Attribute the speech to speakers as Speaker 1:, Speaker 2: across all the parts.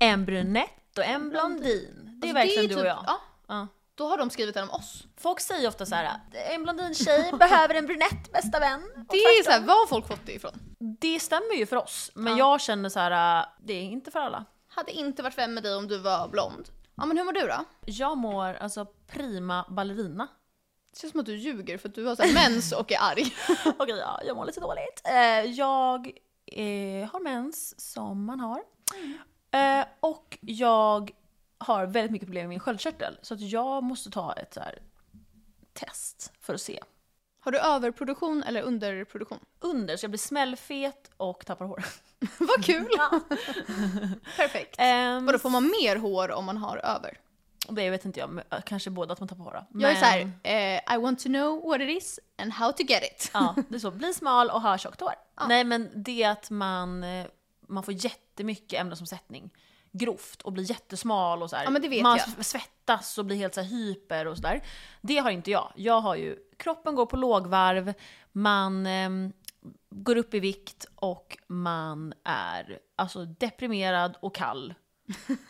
Speaker 1: en brunett och en blondin. Det är
Speaker 2: Alltså,
Speaker 1: verkligen
Speaker 2: ju
Speaker 1: du och jag.
Speaker 2: Ja,
Speaker 1: Ja.
Speaker 2: då har de skrivit den om oss.
Speaker 1: Folk säger ofta så här: en blondin tjej behöver en brunett bästa vän. Och
Speaker 2: Det är
Speaker 1: tvärtom.
Speaker 2: så här, var har folk fått det ifrån?
Speaker 1: det stämmer ju för oss, men
Speaker 2: Ja.
Speaker 1: jag känner så här: äh, det är inte för alla.
Speaker 2: Hade inte varit vän med dig om du var blond. Ja men hur mår du då?
Speaker 1: Jag mår alltså prima ballerina.
Speaker 2: Det känns som att du ljuger för att du har så här, mens och är arg.
Speaker 1: Okej, ja, jag mår lite dåligt. Eh, jag eh, har mens, som man har.
Speaker 2: Mm.
Speaker 1: Eh, och jag har väldigt mycket problem med min sköldkörtel. Så att jag måste ta ett så här, test för att se.
Speaker 2: Har du överproduktion eller underproduktion?
Speaker 1: Under, så jag blir smällfet och tappar hår.
Speaker 2: Vad kul! Perfekt.
Speaker 1: Ehm,
Speaker 2: Vadå, får man mer hår om man har över?
Speaker 1: det vet inte jag, men, eh, kanske båda att man tappar hår. då.
Speaker 2: Jag är
Speaker 1: Men-
Speaker 2: så här, eh, I want to know what it is and how to get it.
Speaker 1: Ja, det är så. Bli smal och ha tjockt hår.
Speaker 2: Ja.
Speaker 1: Nej men det är att man, eh, man får jättemycket ämnesomsättning grovt och blir jättesmal och så här.
Speaker 2: Ja, men det vet
Speaker 1: man
Speaker 2: jag.
Speaker 1: s- svettas och blir helt så här hyper och sådär. Det har inte jag. Jag har ju, kroppen går på lågvarv, man ehm, går upp i vikt och man är alltså deprimerad och kall.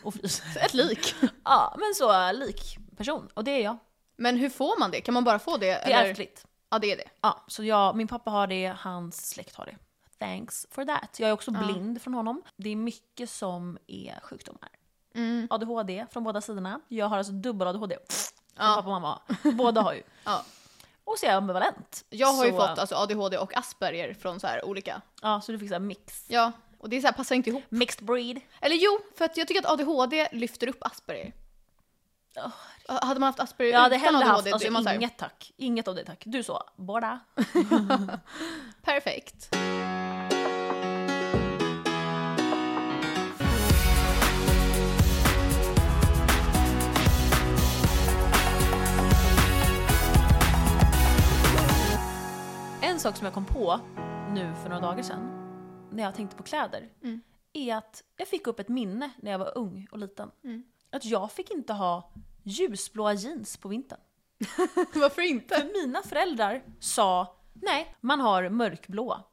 Speaker 1: Och fryser.
Speaker 2: Ett lik.
Speaker 1: ja, men så lik person. Och det är jag.
Speaker 2: Men hur får man det? Kan man bara få det?
Speaker 1: Det är ärftligt.
Speaker 2: Ja, det är det.
Speaker 1: Ja, så jag, min pappa har det, hans släkt har det. Thanks for that. Jag är också
Speaker 2: Ja.
Speaker 1: blind från honom. Det är mycket som är sjukdomar.
Speaker 2: Mm.
Speaker 1: ADHD från båda sidorna. Jag har alltså dubbel ADHD. Som
Speaker 2: Ja.
Speaker 1: pappa och mamma har. Båda har ju.
Speaker 2: Ja.
Speaker 1: Och så är jag ambivalent.
Speaker 2: Jag har ju
Speaker 1: Så,
Speaker 2: fått alltså, ADHD och Asperger från så här olika.
Speaker 1: Ja, så du fick såhär mix.
Speaker 2: Ja, och det är så här, passar inte ihop.
Speaker 1: Mixed breed.
Speaker 2: Eller jo, för att jag tycker att ADHD lyfter upp Asperger.
Speaker 1: Åh,
Speaker 2: Hade man haft Asperger
Speaker 1: Jag hade
Speaker 2: utan
Speaker 1: hellre
Speaker 2: ADHD,
Speaker 1: haft
Speaker 2: då
Speaker 1: alltså,
Speaker 2: är man så här,
Speaker 1: inget tack. Inget av det tack. Du så, båda.
Speaker 2: perfekt.
Speaker 1: En sak som jag kom på nu för några dagar sedan, när jag tänkte på kläder,
Speaker 2: Mm.
Speaker 1: är att jag fick upp ett minne när jag var ung och liten.
Speaker 2: Mm.
Speaker 1: Att jag fick inte ha ljusblåa jeans på vintern.
Speaker 2: Varför inte?
Speaker 1: Mina föräldrar sa nej, man har mörkblåa.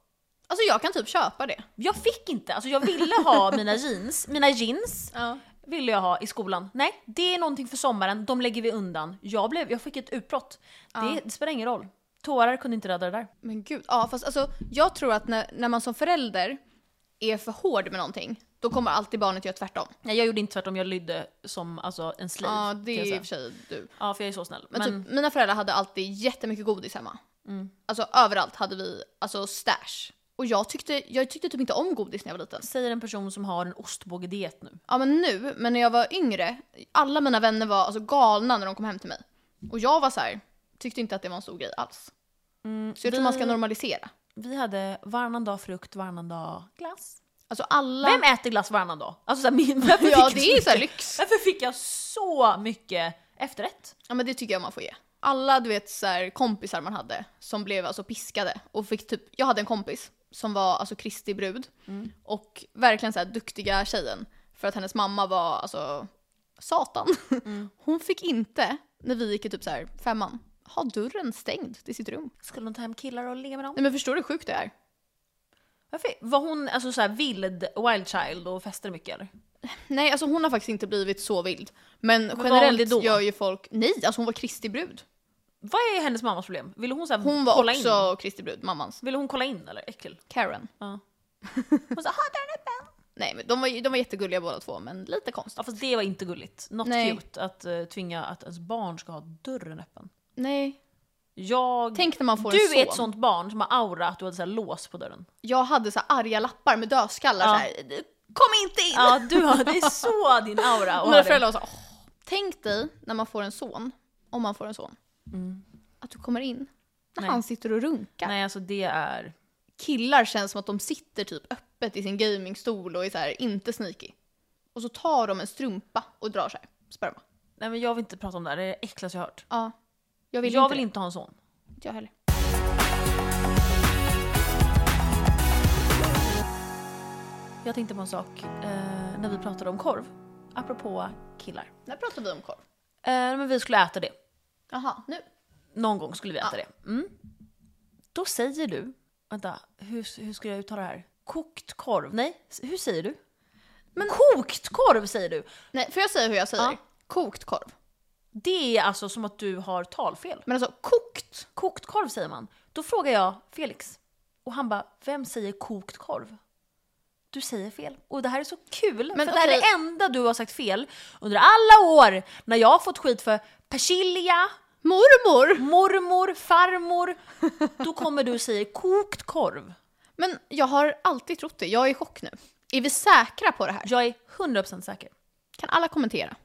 Speaker 2: Alltså jag kan typ köpa det.
Speaker 1: Jag fick inte, alltså jag ville ha mina jeans, mina jeans
Speaker 2: Ja.
Speaker 1: ville jag ha i skolan. Nej, det är någonting för sommaren, de lägger vi undan. Jag, blev, jag fick ett utbrott. Det, det spelar ingen roll. Tårar kunde inte rädda det där.
Speaker 2: Men gud, ja fast alltså jag tror att när, när man som förälder är för hård med någonting, då kommer alltid barnet göra tvärtom.
Speaker 1: Nej, jag gjorde inte tvärtom, jag lydde som alltså, en slave.
Speaker 2: Ja,
Speaker 1: kan
Speaker 2: det
Speaker 1: jag
Speaker 2: är
Speaker 1: säga.
Speaker 2: i och för sig du.
Speaker 1: Ja, för jag är så snäll.
Speaker 2: Men,
Speaker 1: Men, Mm.
Speaker 2: Typ, mina föräldrar hade alltid jättemycket godis hemma. Alltså överallt hade vi alltså stash. Och jag tyckte, jag tyckte typ inte om godis när jag var liten.
Speaker 1: säger en person som har en ostbågediet nu.
Speaker 2: Ja men nu, men när jag var yngre, alla mina vänner var alltså galna när de kom hem till mig. Och jag var så här, tyckte inte att det var en stor grej alls. Mm, Så jag tror
Speaker 1: vi-
Speaker 2: man ska normalisera.
Speaker 1: Vi hade varannan dag frukt, varannan dag glass.
Speaker 2: Alltså alla...
Speaker 1: Vem äter glass varannan dag? Alltså såhär, min, varför,
Speaker 2: ja
Speaker 1: fick
Speaker 2: det är
Speaker 1: jag,
Speaker 2: så här lyx.
Speaker 1: varför fick jag så mycket efterrätt?
Speaker 2: Ja men det tycker jag man får ge. Alla du vet så här, kompisar man hade som blev alltså piskade och fick typ, jag hade en kompis som var alltså Kristi brud
Speaker 1: Mm.
Speaker 2: och verkligen så här duktiga tjejen för att hennes mamma var alltså satan.
Speaker 1: Mm.
Speaker 2: Hon fick inte, när vi gick i typ så här femman, ha dörren stängd till sitt rum.
Speaker 1: Skulle hon ta hem killar och ligga med dem?
Speaker 2: Nej men förstår du hur sjukt det är?
Speaker 1: Varför? Var hon alltså såhär vild, wild child och festade mycket eller?
Speaker 2: Nej alltså hon har faktiskt inte blivit så vild. Men,
Speaker 1: vad var det
Speaker 2: generellt
Speaker 1: då?
Speaker 2: gör ju folk, nej alltså hon var Kristi brud.
Speaker 1: Vad är hennes mammas problem? Ville hon såhär
Speaker 2: Hon var
Speaker 1: kolla in?
Speaker 2: också Kristi brud, mammans.
Speaker 1: Ville hon kolla in eller? Äckel.
Speaker 2: Karen.
Speaker 1: Ja. Hon sa ha den öppen!
Speaker 2: Nej men de var, ju- de var jättegulliga båda två men lite konstigt.
Speaker 1: Ja fast det var inte gulligt. Not
Speaker 2: Nej.
Speaker 1: cute att uh, tvinga att ens barn ska ha dörren öppen.
Speaker 2: Nej.
Speaker 1: Jag...
Speaker 2: Tänk när man får en
Speaker 1: Du
Speaker 2: son.
Speaker 1: är ett sånt barn som har aura att du hade så här lås på dörren.
Speaker 2: Jag hade så här arga lappar med dödskallar
Speaker 1: Ja.
Speaker 2: så här. "Du, Kom inte in!
Speaker 1: Ja, du har, det är så din aura.
Speaker 2: Och
Speaker 1: Och
Speaker 2: Mina
Speaker 1: har det.
Speaker 2: föräldrar var så här, "Åh." Tänk dig när man får en son, om man får en son, att du kommer in när
Speaker 1: Nej.
Speaker 2: han sitter och runkar.
Speaker 1: Nej, alltså det är...
Speaker 2: Killar känns som att de sitter typ öppet i sin gamingstol och är så här inte sneaky. Och så tar de en strumpa och drar så här, sperma.
Speaker 1: Nej men jag vill inte prata om det här, det är det äckligaste jag har hört.
Speaker 2: Ja. Jag vill
Speaker 1: jag
Speaker 2: inte
Speaker 1: vill
Speaker 2: det.
Speaker 1: inte ha en son.
Speaker 2: Inte jag heller.
Speaker 1: Jag tänkte på en sak eh, när vi pratade om korv. Apropå killar.
Speaker 2: När pratar vi om korv?
Speaker 1: Eh, men vi skulle äta det.
Speaker 2: Jaha, nu.
Speaker 1: Någon gång skulle vi äta
Speaker 2: Ja.
Speaker 1: det. Mm. Då säger du... Vänta, hur, hur ska jag uttala det här? Kokt korv? Nej, s- hur säger du? Kokt korv säger du!
Speaker 2: Nej, får jag säga hur jag säger?
Speaker 1: Ja.
Speaker 2: Kokt korv.
Speaker 1: Det är alltså som att du har talfel.
Speaker 2: Men alltså kokt?
Speaker 1: Kokt korv säger man. Då frågar jag Felix och han bara, vem säger kokt korv? Du säger fel. Och det här är så kul,
Speaker 2: Men
Speaker 1: för det här är
Speaker 2: okej.
Speaker 1: det enda du har sagt fel under alla år när jag har fått skit för persilja,
Speaker 2: Mormor!
Speaker 1: mormor, farmor. Då kommer du och säger kokt korv.
Speaker 2: Men jag har alltid trott det. Jag är i chock nu. Är vi säkra på det här?
Speaker 1: Jag är 100% säker.
Speaker 2: Kan alla kommentera?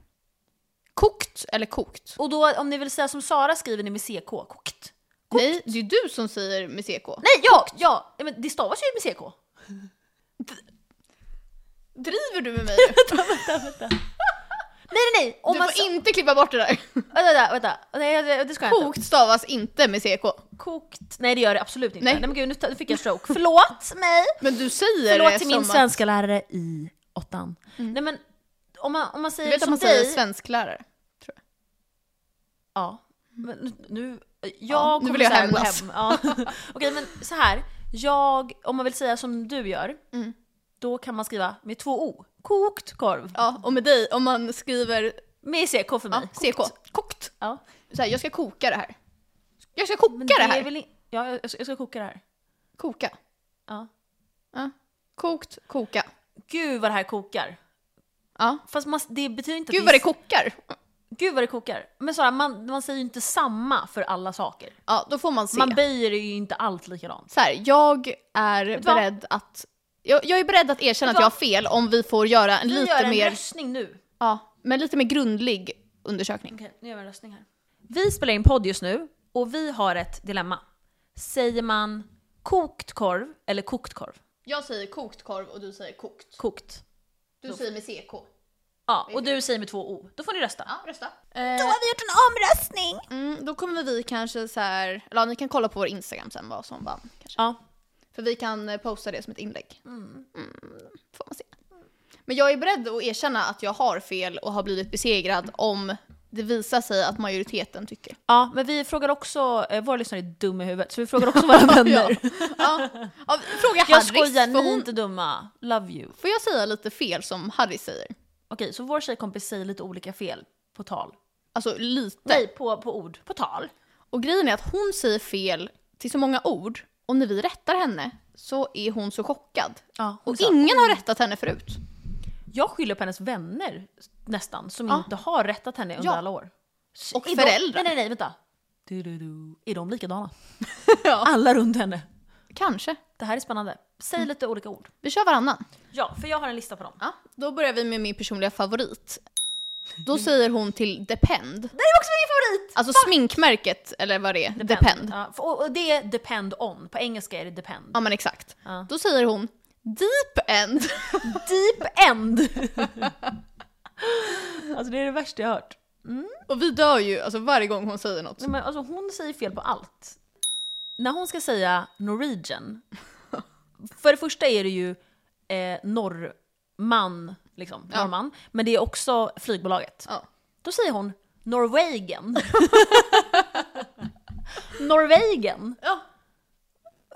Speaker 2: Kokt eller kokt?
Speaker 1: Och då om ni vill säga som Sara skriver ni med CK, kokt.
Speaker 2: Nej, det är du som säger med CK.
Speaker 1: Nej, ja, ja, ja, men det stavas ju med CK.
Speaker 2: Driver du med mig?
Speaker 1: Nej, nej, nej. Om
Speaker 2: Du
Speaker 1: man
Speaker 2: får
Speaker 1: sa-
Speaker 2: inte klippa bort det där.
Speaker 1: Vänta, vänta, vänta. Nej, det- det ska jag inte.
Speaker 2: Kokt stavas inte med CK.
Speaker 1: Kokt. Nej, det gör det absolut inte.
Speaker 2: Nej.
Speaker 1: Nej, men gud, nu ta- nu fick jag stroke. Förlåt mig!
Speaker 2: Men du säger
Speaker 1: Förlåt
Speaker 2: det
Speaker 1: till min
Speaker 2: som att... Mm.
Speaker 1: svenska lärare i åttan. Nej men, om man, om man
Speaker 2: Du
Speaker 1: säger
Speaker 2: vet att
Speaker 1: som
Speaker 2: man
Speaker 1: dig...
Speaker 2: säger svensklärare?
Speaker 1: Ja. Men nu, jag
Speaker 2: Ja, nu
Speaker 1: kommer
Speaker 2: vill jag
Speaker 1: så här gå
Speaker 2: hämnas.
Speaker 1: hem. Ja. Okej men så här. Jag, om man vill säga som du gör,
Speaker 2: Mm.
Speaker 1: då kan man skriva med två o. Kokt korv.
Speaker 2: Ja, och med dig, om man skriver
Speaker 1: Med CK för
Speaker 2: ja,
Speaker 1: mig.
Speaker 2: CK. Kokt.
Speaker 1: Ja.
Speaker 2: Så här, jag ska koka det här. Jag ska koka
Speaker 1: Men
Speaker 2: det,
Speaker 1: det
Speaker 2: här.
Speaker 1: är väl in... Ja, jag ska, jag ska koka det här.
Speaker 2: Koka.
Speaker 1: Ja.
Speaker 2: Ja. Kokt, koka.
Speaker 1: Gud vad det här kokar.
Speaker 2: Ja.
Speaker 1: Fast man, det betyder inte
Speaker 2: Gud
Speaker 1: att
Speaker 2: vad det kokar.
Speaker 1: Gud vad det kokar. Men Sara, man, man säger ju inte samma för alla saker.
Speaker 2: Ja, då får man se.
Speaker 1: Man böjer ju inte allt likadant.
Speaker 2: så här, jag är
Speaker 1: du vad?
Speaker 2: beredd att... Jag, jag är beredd att erkänna
Speaker 1: Vet
Speaker 2: att
Speaker 1: du
Speaker 2: jag har
Speaker 1: vad?
Speaker 2: fel om vi får göra en
Speaker 1: Vi
Speaker 2: lite
Speaker 1: gör en
Speaker 2: mer...
Speaker 1: röstning nu.
Speaker 2: Ja, men lite mer grundlig undersökning.
Speaker 1: Okej, nu gör vi en röstning här. Vi spelar in podd just nu och vi har ett dilemma. Säger man kokt korv eller kokt korv?
Speaker 2: Jag säger kokt korv och du säger kokt.
Speaker 1: Kokt.
Speaker 2: Du säger med CK.
Speaker 1: Ja, och du säger med två o. Då får ni rösta.
Speaker 2: Ja, rösta.
Speaker 1: Då har vi gjort en omröstning!
Speaker 2: Eh, mm, då kommer vi kanske så här... Eller ja, ni kan kolla på vår Instagram sen vad som vann. Kanske.
Speaker 1: Ja.
Speaker 2: För vi kan eh, posta det som ett inlägg. Mm. får man se. Men jag är beredd att erkänna att jag har fel och har blivit besegrad om det visar sig att majoriteten tycker.
Speaker 1: ja, men vi frågar också, eh, våra lyssnare är dumma i huvudet, så vi frågar också våra vänner.
Speaker 2: Ja. Ja, fråga
Speaker 1: Jag
Speaker 2: Harris,
Speaker 1: skojar,
Speaker 2: för
Speaker 1: ni är
Speaker 2: hon
Speaker 1: inte dumma. Love you.
Speaker 2: Får jag säga lite fel som Harry säger?
Speaker 1: Okej, så vår tjejkompis säger lite olika fel på tal.
Speaker 2: Alltså lite.
Speaker 1: Nej, på, på ord. På tal.
Speaker 2: Och grejen är att hon säger fel till så många ord och när vi rättar henne så är hon så chockad.
Speaker 1: Ja,
Speaker 2: Och ingen har rättat henne förut.
Speaker 1: Jag skyller på hennes vänner nästan, som
Speaker 2: Ja.
Speaker 1: inte har rättat henne under
Speaker 2: Ja.
Speaker 1: alla år.
Speaker 2: Och
Speaker 1: Är de-
Speaker 2: föräldrar.
Speaker 1: Nej, nej, nej, vänta. Du, du, du. Är de likadana?
Speaker 2: Ja.
Speaker 1: Alla runt henne.
Speaker 2: Kanske.
Speaker 1: Det här är spännande. Säg lite olika ord.
Speaker 2: Vi kör varannan.
Speaker 1: Mm. Ja, för jag har en lista på dem.
Speaker 2: Ja, då börjar vi med min personliga favorit. Då säger hon till Depend.
Speaker 1: Det är också min favorit!
Speaker 2: Alltså sminkmärket, eller vad det är. Depend.
Speaker 1: Ja, för- och, och det är depend on. På engelska är det depend.
Speaker 2: Ja men exakt.
Speaker 1: Ja.
Speaker 2: Då säger hon Deep End.
Speaker 1: Deep end! alltså det är det värsta jag har hört.
Speaker 2: Och vi dör ju alltså, varje gång hon säger något.
Speaker 1: Nej, Men alltså hon säger fel på allt. När hon ska säga Norwegian, för det första är det ju eh, norrman, liksom,
Speaker 2: Ja.
Speaker 1: norrman, men det är också flygbolaget.
Speaker 2: Ja.
Speaker 1: Då säger hon Norwegian. Norwegian,
Speaker 2: ja.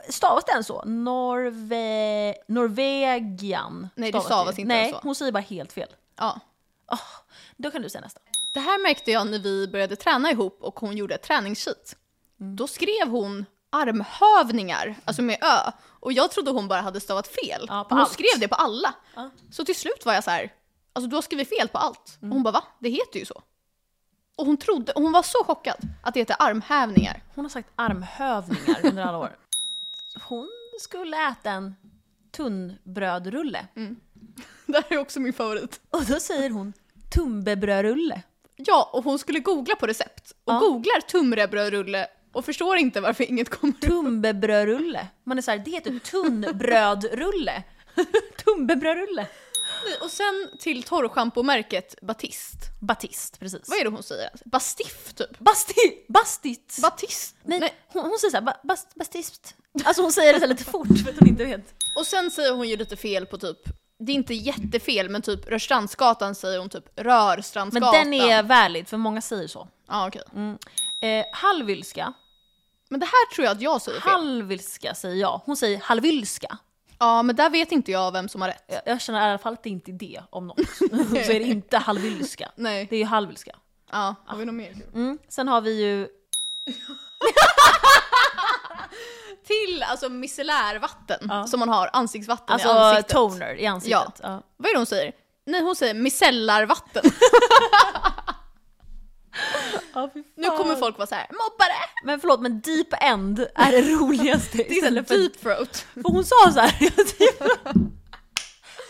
Speaker 1: stavas den så? Norve... Norwegian.
Speaker 2: Nej, det stavas
Speaker 1: det.
Speaker 2: inte
Speaker 1: Nej,
Speaker 2: så.
Speaker 1: hon säger bara helt fel.
Speaker 2: ja.
Speaker 1: Ah, då kan du säga nästa.
Speaker 2: Det här märkte jag när vi började träna ihop och hon gjorde ett träningssheet.
Speaker 1: Mm.
Speaker 2: Då skrev hon armhövningar, alltså med ö. Och jag trodde hon bara hade stavat fel.
Speaker 1: Ja, på
Speaker 2: hon
Speaker 1: allt.
Speaker 2: skrev det på alla.
Speaker 1: Ja.
Speaker 2: Så till slut var jag så här, alltså du har skrivit fel på allt.
Speaker 1: Mm.
Speaker 2: Och hon bara va? Det heter ju så. Och hon trodde, hon var så chockad att det heter armhävningar.
Speaker 1: Hon har sagt armhövningar under alla år. Hon skulle äta en tunnbrödrulle.
Speaker 2: Det här är också min favorit.
Speaker 1: Och då säger hon tumbebrödrulle.
Speaker 2: Ja, och hon skulle googla på recept. Och
Speaker 1: Ja.
Speaker 2: googlar tumrebrödrulle och förstår inte varför inget kommer upp.
Speaker 1: Tumbebrödrulle. Man är såhär, det heter tunnbrödrulle. Tumbebrödrulle.
Speaker 2: Och sen till torrschampomärket Batist.
Speaker 1: Batist, precis.
Speaker 2: Vad är det hon säger? Bastiff typ?
Speaker 1: Basti, bastit!
Speaker 2: Batist?
Speaker 1: Nej,
Speaker 2: Nej.
Speaker 1: Hon, hon säger såhär, ba, bast, bastist. Alltså hon säger det så här lite fort för att hon inte vet.
Speaker 2: Och sen säger hon ju lite fel på typ, det är inte jättefel men typ Rörstrandsgatan säger hon typ
Speaker 1: Men
Speaker 2: Rörstrandsgatan.
Speaker 1: den är valid, för många säger så.
Speaker 2: Ja okej.
Speaker 1: Eh, halvvilska.
Speaker 2: Men det här tror jag att jag säger fel.
Speaker 1: Halvilska säger jag. Hon säger halvvilska.
Speaker 2: Ja men där vet inte jag vem som har rätt.
Speaker 1: Jag, jag känner i alla fall att det inte är det om något. så är det inte halvilska.
Speaker 2: Nej.
Speaker 1: Det är ju halvilska.
Speaker 2: Ja, har vi något mer?
Speaker 1: Mm. Sen har vi ju
Speaker 2: Till alltså micellärvatten
Speaker 1: Ja.
Speaker 2: som man har, ansiktsvatten i
Speaker 1: alltså,
Speaker 2: ansiktet.
Speaker 1: toner i ansiktet. Ja.
Speaker 2: Vad är det hon säger? Nej hon säger micellarvatten. nu kommer folk vara så här: mobbare!
Speaker 1: Men förlåt, men deep end är det roligaste
Speaker 2: Det är
Speaker 1: istället för...
Speaker 2: deep throat.
Speaker 1: För hon sa så här. hon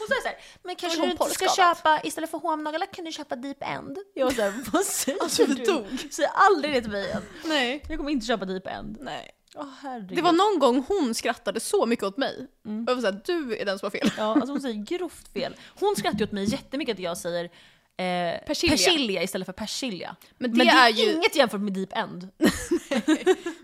Speaker 1: sa så här, men kanske
Speaker 2: hon
Speaker 1: du inte ska
Speaker 2: porrskadad.
Speaker 1: köpa, istället för hårnaglar kan du köpa deep end. Jag var så här, vad säger
Speaker 2: Alltså, vi
Speaker 1: du?
Speaker 2: dog.
Speaker 1: Säg aldrig det till mig igen.
Speaker 2: Nej.
Speaker 1: Jag kommer inte köpa deep end.
Speaker 2: Nej.
Speaker 1: Åh herregud.
Speaker 2: Det var någon gång hon skrattade så mycket åt mig.
Speaker 1: Mm.
Speaker 2: Och jag var såhär, du är den som har fel.
Speaker 1: Ja, alltså hon säger grovt fel. Hon skrattar ju åt mig jättemycket att jag säger eh,
Speaker 2: Persilja.
Speaker 1: persilja istället för persilja.
Speaker 2: Men det,
Speaker 1: Men det
Speaker 2: är
Speaker 1: är
Speaker 2: ju,
Speaker 1: inget jämfört med deep end.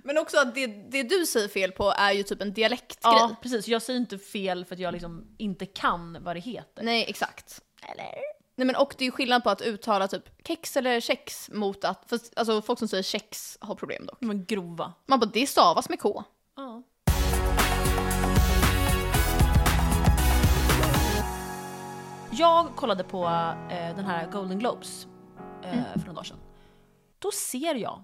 Speaker 2: men också att det, det du säger fel på är ju typ en dialektgrej.
Speaker 1: Ja, precis. Jag säger inte fel för att jag liksom inte kan vad det heter.
Speaker 2: Nej exakt.
Speaker 1: Eller?
Speaker 2: Nej men och det är ju skillnad på att uttala typ kex eller kex mot att, fast, alltså folk som säger kex har problem dock.
Speaker 1: Men grova.
Speaker 2: Man bara, det stavas med k.
Speaker 1: Ja. Jag kollade på eh, den här Golden Globes eh, för några dagar sedan. Då ser jag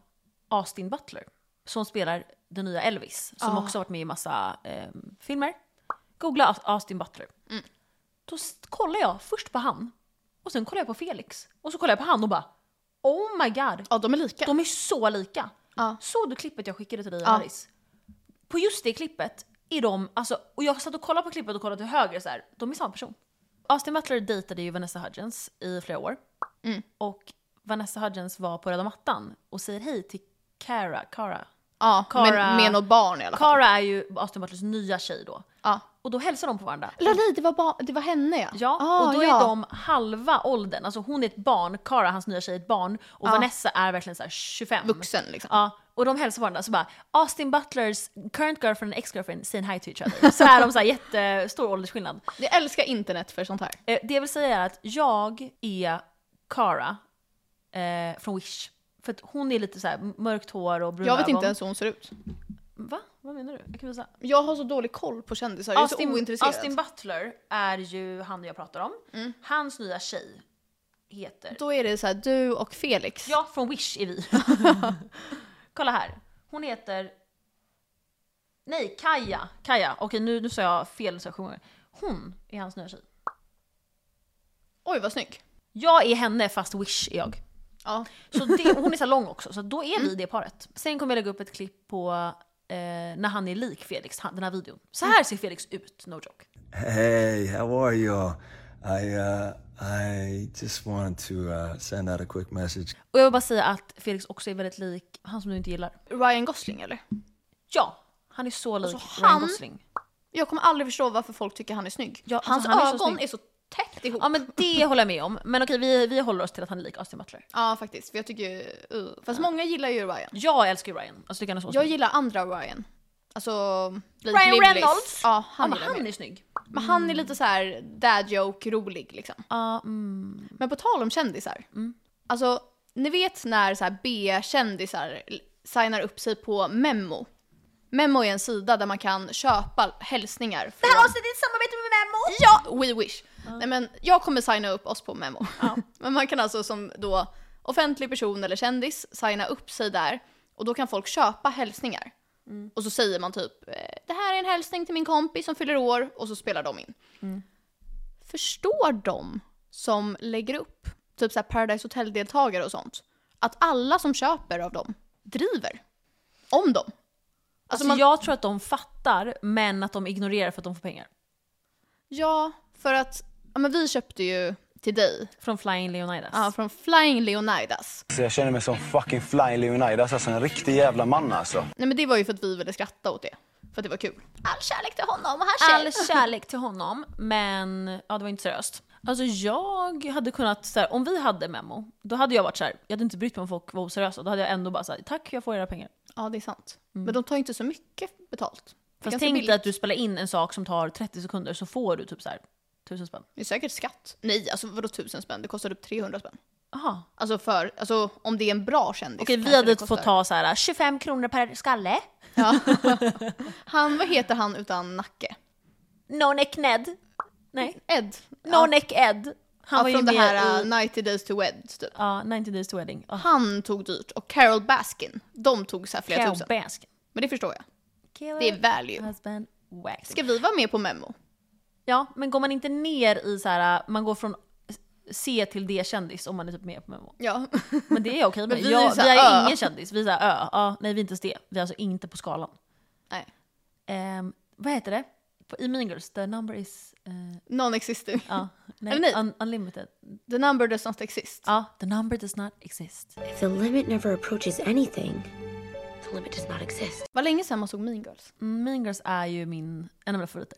Speaker 1: Austin Butler som spelar den nya Elvis som också varit med i massa eh, filmer. Googla Aus- Austin Butler. Då s- kollar jag först på han och sen kollar jag på Felix och så kollar jag på han och bara Oh my god,
Speaker 2: Ja de är lika.
Speaker 1: de är så lika.
Speaker 2: Ja.
Speaker 1: Såg du klippet jag skickade till dig Alice? På just det klippet är de, alltså, och jag satt och kollade på klippet och kollade till höger så här, de är samma person. Austin Butler dejtade ju Vanessa Hudgens i flera år.
Speaker 2: Mm.
Speaker 1: Och Vanessa Hudgens var på röda mattan och säger hej till Cara. Cara,
Speaker 2: Ja,
Speaker 1: Cara-
Speaker 2: men med något barn i alla fall.
Speaker 1: Cara är ju Austin Butlers nya tjej då.
Speaker 2: Ja.
Speaker 1: Och då hälsar de på varandra.
Speaker 2: Eller nej, det var, ba- det var henne ja.
Speaker 1: Ja,
Speaker 2: Ah,
Speaker 1: och då
Speaker 2: ja.
Speaker 1: är de halva åldern. Alltså hon är ett barn, Cara, hans nya tjej, är ett barn. Och Vanessa är verkligen så här 25.
Speaker 2: Vuxen liksom.
Speaker 1: Ja, och de hälsar på varandra så bara Austin Butlers current girlfriend and ex-girlfriend saying hi to each other. Så är de så här jättestor åldersskillnad.
Speaker 2: Jag älskar internet för sånt här.
Speaker 1: Eh, det jag vill säga är att jag är Cara eh, från Wish. För att hon är lite så här mörkt hår och bruna
Speaker 2: Jag vet
Speaker 1: ögon.
Speaker 2: inte ens hur hon ser ut.
Speaker 1: Va? Vad menar du? Jag kan visa.
Speaker 2: Jag har så dålig koll på kändisar, jag är så ointresserad. Mm.
Speaker 1: Austin Butler är ju han jag pratar om. Hans nya tjej heter...
Speaker 2: då är det så här, du och Felix.
Speaker 1: Ja, från Wish är vi. Kolla här. Hon heter... Nej, Kaja. Kaja. Okej, nu, nu sa jag fel så jag sjunger. Hon är hans nya tjej.
Speaker 2: Oj vad snygg.
Speaker 1: Jag är henne fast Wish är jag.
Speaker 2: Ja.
Speaker 1: Så det, hon är så här lång också, så då är
Speaker 2: Mm.
Speaker 1: vi det paret. Sen kommer jag lägga upp ett klipp på eh, när han är lik Felix, han, den här videon. Så här ser Felix ut, no joke.
Speaker 3: Hey, how are y'all? I uh, I just wanted to uh, send out a quick message.
Speaker 1: Och jag vill bara säga att Felix också är väldigt lik han som du inte gillar.
Speaker 2: Ryan Gosling eller?
Speaker 1: Ja, han är så lik
Speaker 2: Alltså,
Speaker 1: Ryan
Speaker 2: han-
Speaker 1: Gosling.
Speaker 2: Jag kommer aldrig förstå varför folk tycker han är snygg.
Speaker 1: Ja, alltså,
Speaker 2: Hans
Speaker 1: han är så
Speaker 2: ögon
Speaker 1: snygg.
Speaker 2: är så tätt ihop.
Speaker 1: Ja men det håller jag med om. Men okej, vi, vi håller oss till att han är lik Austin Butler.
Speaker 2: Ja, faktiskt, för jag tycker ju... Uh. Fast många gillar ju Ryan.
Speaker 1: Jag älskar ju Ryan. Alltså, tycker han är så
Speaker 2: Jag
Speaker 1: snygg.
Speaker 2: gillar andra Ryan. Alltså... Blake
Speaker 1: Ryan
Speaker 2: Lively's.
Speaker 1: Reynolds?
Speaker 2: Ja,
Speaker 1: Ja,
Speaker 2: han,
Speaker 1: men
Speaker 2: gillar jag
Speaker 1: han Mm.
Speaker 2: mer.
Speaker 1: är snygg.
Speaker 2: Men han är lite så här dad joke, rolig liksom.
Speaker 1: Ja, mm.
Speaker 2: Men på tal om kändisar. Alltså, ni vet när så här B-kändisar l- signar upp sig på Memmo. Memmo är en sida där man kan köpa hälsningar. Från...
Speaker 1: Det här avsnittet är ett samarbete med Memo!
Speaker 2: Ja! We wish! Nej men jag kommer signa upp oss på Memmo. men man kan alltså som då offentlig person eller kändis signa upp sig där och då kan folk köpa hälsningar. Och så säger man typ eh, det här är en hälsning till min kompis som fyller år och så spelar de in. Förstår de som lägger upp, typ så här Paradise Hotel-deltagare och sånt, att alla som köper av dem driver om dem?
Speaker 1: Alltså,
Speaker 2: Alltså man,
Speaker 1: Jag tror att de fattar, men att de ignorerar för att de får pengar.
Speaker 2: ja, för att ja, men vi köpte ju till dig
Speaker 1: Från Flying Leonidas.
Speaker 2: Ja, från Flying Leonidas.
Speaker 4: Så jag känner mig som fucking flying Leonidas, alltså en riktig jävla man alltså.
Speaker 2: Nej men det var ju för att vi ville skratta åt det. För att det var kul. All kärlek till honom och hans
Speaker 1: All kärlek till honom, men ja, det var inte seriöst. Alltså jag hade kunnat, så här, om vi hade Memo, då hade jag varit så här, jag hade inte brytt mig om folk var oseriösa. Då hade jag ändå bara sagt tack, jag får era pengar.
Speaker 2: Ja det är sant. Men de tar ju inte så mycket betalt. Det är
Speaker 1: Mm. Fast
Speaker 2: ganska
Speaker 1: tänk
Speaker 2: billigt.
Speaker 1: dig att du spelar in en sak som tar 30 sekunder så får du typ så här, tusen spänn.
Speaker 2: Det är säkert skatt. Nej alltså vadå tusen spänn? Det kostar upp 300 spänn.
Speaker 1: Aha.
Speaker 2: Alltså för, alltså om det är en bra kändis.
Speaker 1: Okej, vi
Speaker 2: kanske
Speaker 1: hade
Speaker 2: det kostar.
Speaker 1: fått ta så här 25 kronor per skalle.
Speaker 2: Han, vad heter han utan nacke?
Speaker 1: No Neck Ned. Nej.
Speaker 2: Ed.
Speaker 1: No Neck Ed. Han var
Speaker 2: ja,
Speaker 1: ju
Speaker 2: från det
Speaker 1: med
Speaker 2: här
Speaker 1: i
Speaker 2: uh, 90 days to wed typ.
Speaker 1: ja, 90 Days to Wedding. Oh,
Speaker 2: Han tog dyrt och Carol Baskin, de tog så här flera
Speaker 1: Carol
Speaker 2: tusen.
Speaker 1: Baskin.
Speaker 2: Men det förstår jag.
Speaker 1: Killer,
Speaker 2: Det är value.
Speaker 1: Husband, waxing.
Speaker 2: Ska vi vara med på Memo?
Speaker 1: Ja, men går man inte ner i så här, äh, man går från C till D-kändis om man är typ med på Memo.
Speaker 2: Ja.
Speaker 1: Men det är okej med
Speaker 2: Men
Speaker 1: mig.
Speaker 2: vi är ju
Speaker 1: Jag,
Speaker 2: så
Speaker 1: vi
Speaker 2: här
Speaker 1: är
Speaker 2: ö.
Speaker 1: ju ingen kändis, vi är så här, ö. Ja, nej vi är inte ens det. Vi är alltså inte på skalan.
Speaker 2: Nej.
Speaker 1: Ehm, vad heter det? På- I Mean Girls, the number is... eh,
Speaker 2: Non-existing.
Speaker 1: ja, nej,
Speaker 2: Eller nej.
Speaker 1: Un, unlimited.
Speaker 2: The number does not exist.
Speaker 1: Ja, the number does not exist.
Speaker 5: If the limit never approaches anything, the limit does not exist.
Speaker 2: Vad länge sedan man såg Mean Girls.
Speaker 1: Mm, Mean Girls är ju min, en av mina favoriter.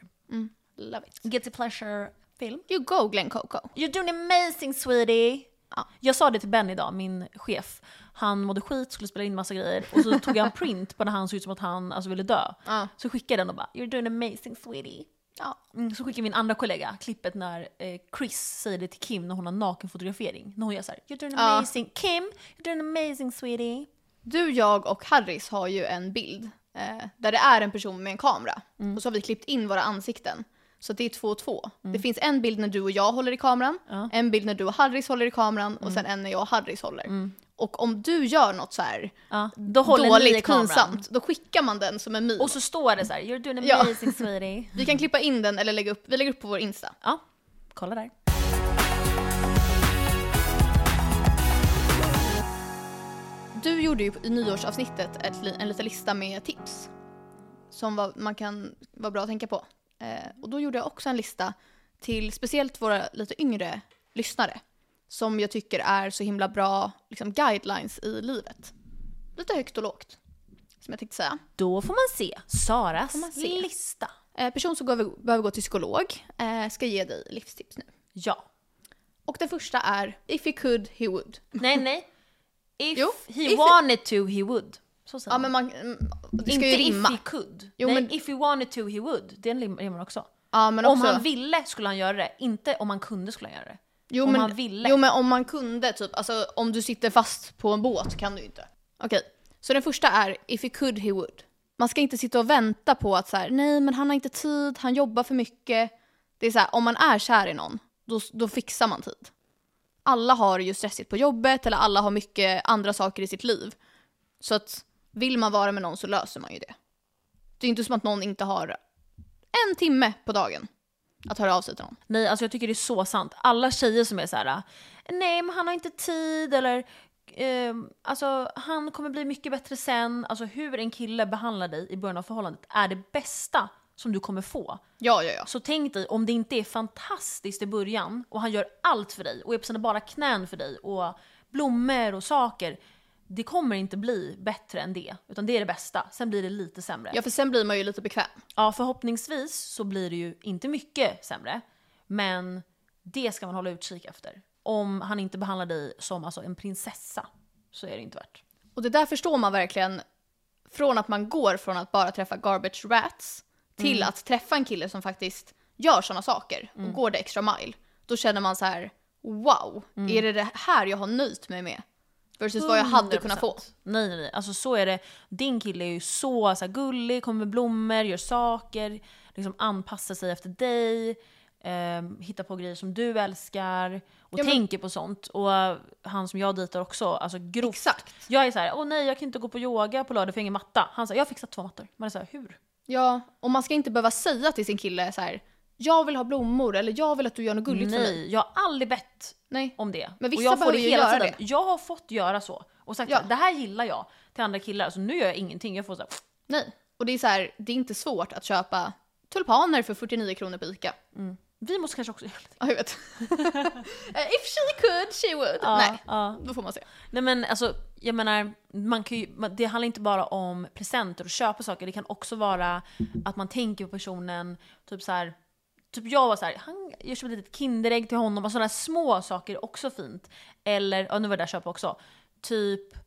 Speaker 2: Love it.
Speaker 1: Guilty pleasure-film.
Speaker 2: You go Glenn Coco.
Speaker 1: You're doing amazing sweetie.
Speaker 2: Ja.
Speaker 1: Jag sa det till Ben idag, min chef. Han mådde skit, skulle spela in massa grejer och så tog jag en print på när han såg ut som att han alltså, ville dö.
Speaker 2: Ja.
Speaker 1: Så skickade jag den och bara “You're doing amazing sweetie”.
Speaker 2: Ja.
Speaker 1: Mm, så skickade min andra kollega klippet när eh, Chris säger det till Kim när hon har nakenfotografering. När hon gör såhär “You're doing
Speaker 2: Ja.
Speaker 1: amazing, Kim, you're doing amazing sweetie”.
Speaker 2: Du, jag och Harris har ju en bild eh, där det är en person med en kamera.
Speaker 1: Mm.
Speaker 2: Och så har vi klippt in våra ansikten. Så det är två och två. Det finns en bild när du och jag håller i kameran, en bild när du och Harris håller i kameran
Speaker 1: Mm.
Speaker 2: och sen en när jag och Harris håller. Och om du gör något så här
Speaker 1: Ja, då Mm. håller ni i
Speaker 2: dåligt,
Speaker 1: kameran.
Speaker 2: pinsamt, då skickar man den som en meme.
Speaker 1: Och så står det så här “You're doing
Speaker 2: Ja.
Speaker 1: amazing sweetie”.
Speaker 2: Vi kan klippa in den eller lägga upp, vi lägger upp på vår Insta.
Speaker 1: Ja, kolla där.
Speaker 2: Du gjorde ju i nyårsavsnittet ett, li- en liten lista med tips som var, man kan vara bra att tänka på. Eh, och då gjorde jag också en lista till speciellt våra lite yngre lyssnare som jag tycker är så himla bra liksom, guidelines i livet. Lite högt och lågt, som jag tänkte säga.
Speaker 1: Då får man se Saras
Speaker 2: man se.
Speaker 1: lista.
Speaker 2: Eh, person som behöver, behöver gå till psykolog eh, ska ge dig livstips nu.
Speaker 1: Ja.
Speaker 2: Och den första är If he could, he would.
Speaker 1: Nej, nej. If
Speaker 2: Jo,
Speaker 1: he
Speaker 2: if he-
Speaker 1: wanted to, he would. Så säger
Speaker 2: Ja,
Speaker 1: man.
Speaker 2: men man, mm, det ska
Speaker 1: Inte
Speaker 2: ju rimma.
Speaker 1: if he could.
Speaker 2: Jo,
Speaker 1: nej,
Speaker 2: men-
Speaker 1: if he wanted to, he would. Den lim- rimmar också.
Speaker 2: Ja, men
Speaker 1: Om
Speaker 2: också-
Speaker 1: han ville skulle han göra det, inte om han kunde skulle han göra det.
Speaker 2: Jo,
Speaker 1: om
Speaker 2: men,
Speaker 1: han ville.
Speaker 2: Jo men om man kunde typ, alltså om du sitter fast på en båt kan du ju inte. Okej, så den första är if he could he would. Man ska inte sitta och vänta på att så här, nej men han har inte tid, han jobbar för mycket. Det är så här, om man är kär i någon, då, då fixar man tid. Alla har ju stressigt på jobbet eller alla har mycket andra saker i sitt liv. Så att vill man vara med någon så löser man ju det. Det är inte som att någon inte har en timme på dagen att höra av sig till någon.
Speaker 1: Nej, alltså jag tycker det är så sant. Alla tjejer som är så här, nej men han har inte tid eller ehm, alltså han kommer bli mycket bättre sen. Alltså hur en kille behandlar dig i början av förhållandet är det bästa som du kommer få.
Speaker 2: Ja, ja, ja.
Speaker 1: Så tänk dig om det inte är fantastiskt i början och han gör allt för dig och är på sina bara knän för dig och blommor och saker. Det kommer inte bli bättre än det, utan det är det bästa. Sen blir det lite sämre.
Speaker 2: Ja, för sen blir man ju lite bekväm.
Speaker 1: Ja, förhoppningsvis så blir det ju inte mycket sämre, men det ska man hålla utkik efter. Om han inte behandlar dig som alltså en prinsessa så är det inte värt.
Speaker 2: Och det där förstår man verkligen från att man går från att bara träffa garbage rats till att träffa en kille som faktiskt gör sådana saker och går det extra mile. Då känner man så här: wow, är det det här jag har nöjt mig med? Versus vad jag hade kunnat få.
Speaker 1: 100%. Nej, nej, nej. Alltså så är det. Din kille är ju så, så här, gullig, kommer med blommor, gör saker, liksom anpassar sig efter dig, ehm, hittar på grejer som du älskar och
Speaker 2: Ja, men-
Speaker 1: tänker på sånt. Och eh, han som jag dejtar också, alltså grovt.
Speaker 2: Exakt.
Speaker 1: Jag är så här, åh nej jag kan inte gå på yoga på lördag för jag har ingen matta. Han säger, jag har fixat två mattor. Man är så här, hur?
Speaker 2: Ja, och man ska inte behöva säga till sin kille så här: jag vill ha blommor eller jag vill att du gör något gulligt för mig.
Speaker 1: Nej, jag har aldrig bett
Speaker 2: Nej.
Speaker 1: om det.
Speaker 2: Men
Speaker 1: och
Speaker 2: vissa
Speaker 1: jag får
Speaker 2: behöver
Speaker 1: det
Speaker 2: ju
Speaker 1: hela
Speaker 2: göra
Speaker 1: tiden.
Speaker 2: det.
Speaker 1: Jag har fått göra så. Och sagt
Speaker 2: Ja.
Speaker 1: så här, det här gillar jag till andra killar. Så nu gör jag ingenting. Jag får så här,
Speaker 2: Nej. Och det är så här, det är inte svårt att köpa tulpaner för 49 kronor på Ica.
Speaker 1: vi måste kanske också göra lite.
Speaker 2: Ja, jag vet. Eh, If she could, she would. Nej,
Speaker 1: ja.
Speaker 2: då får man se.
Speaker 1: Nej men alltså, jag menar, man kan ju, man- det handlar inte bara om presenter och köpa saker. Det kan också vara att man tänker på personen, typ så här. Typ jag var så här, han, jag köpte ett litet Kinderägg till honom och sådana små saker är också fint. Eller, ja nu var det där jag köpte också, typ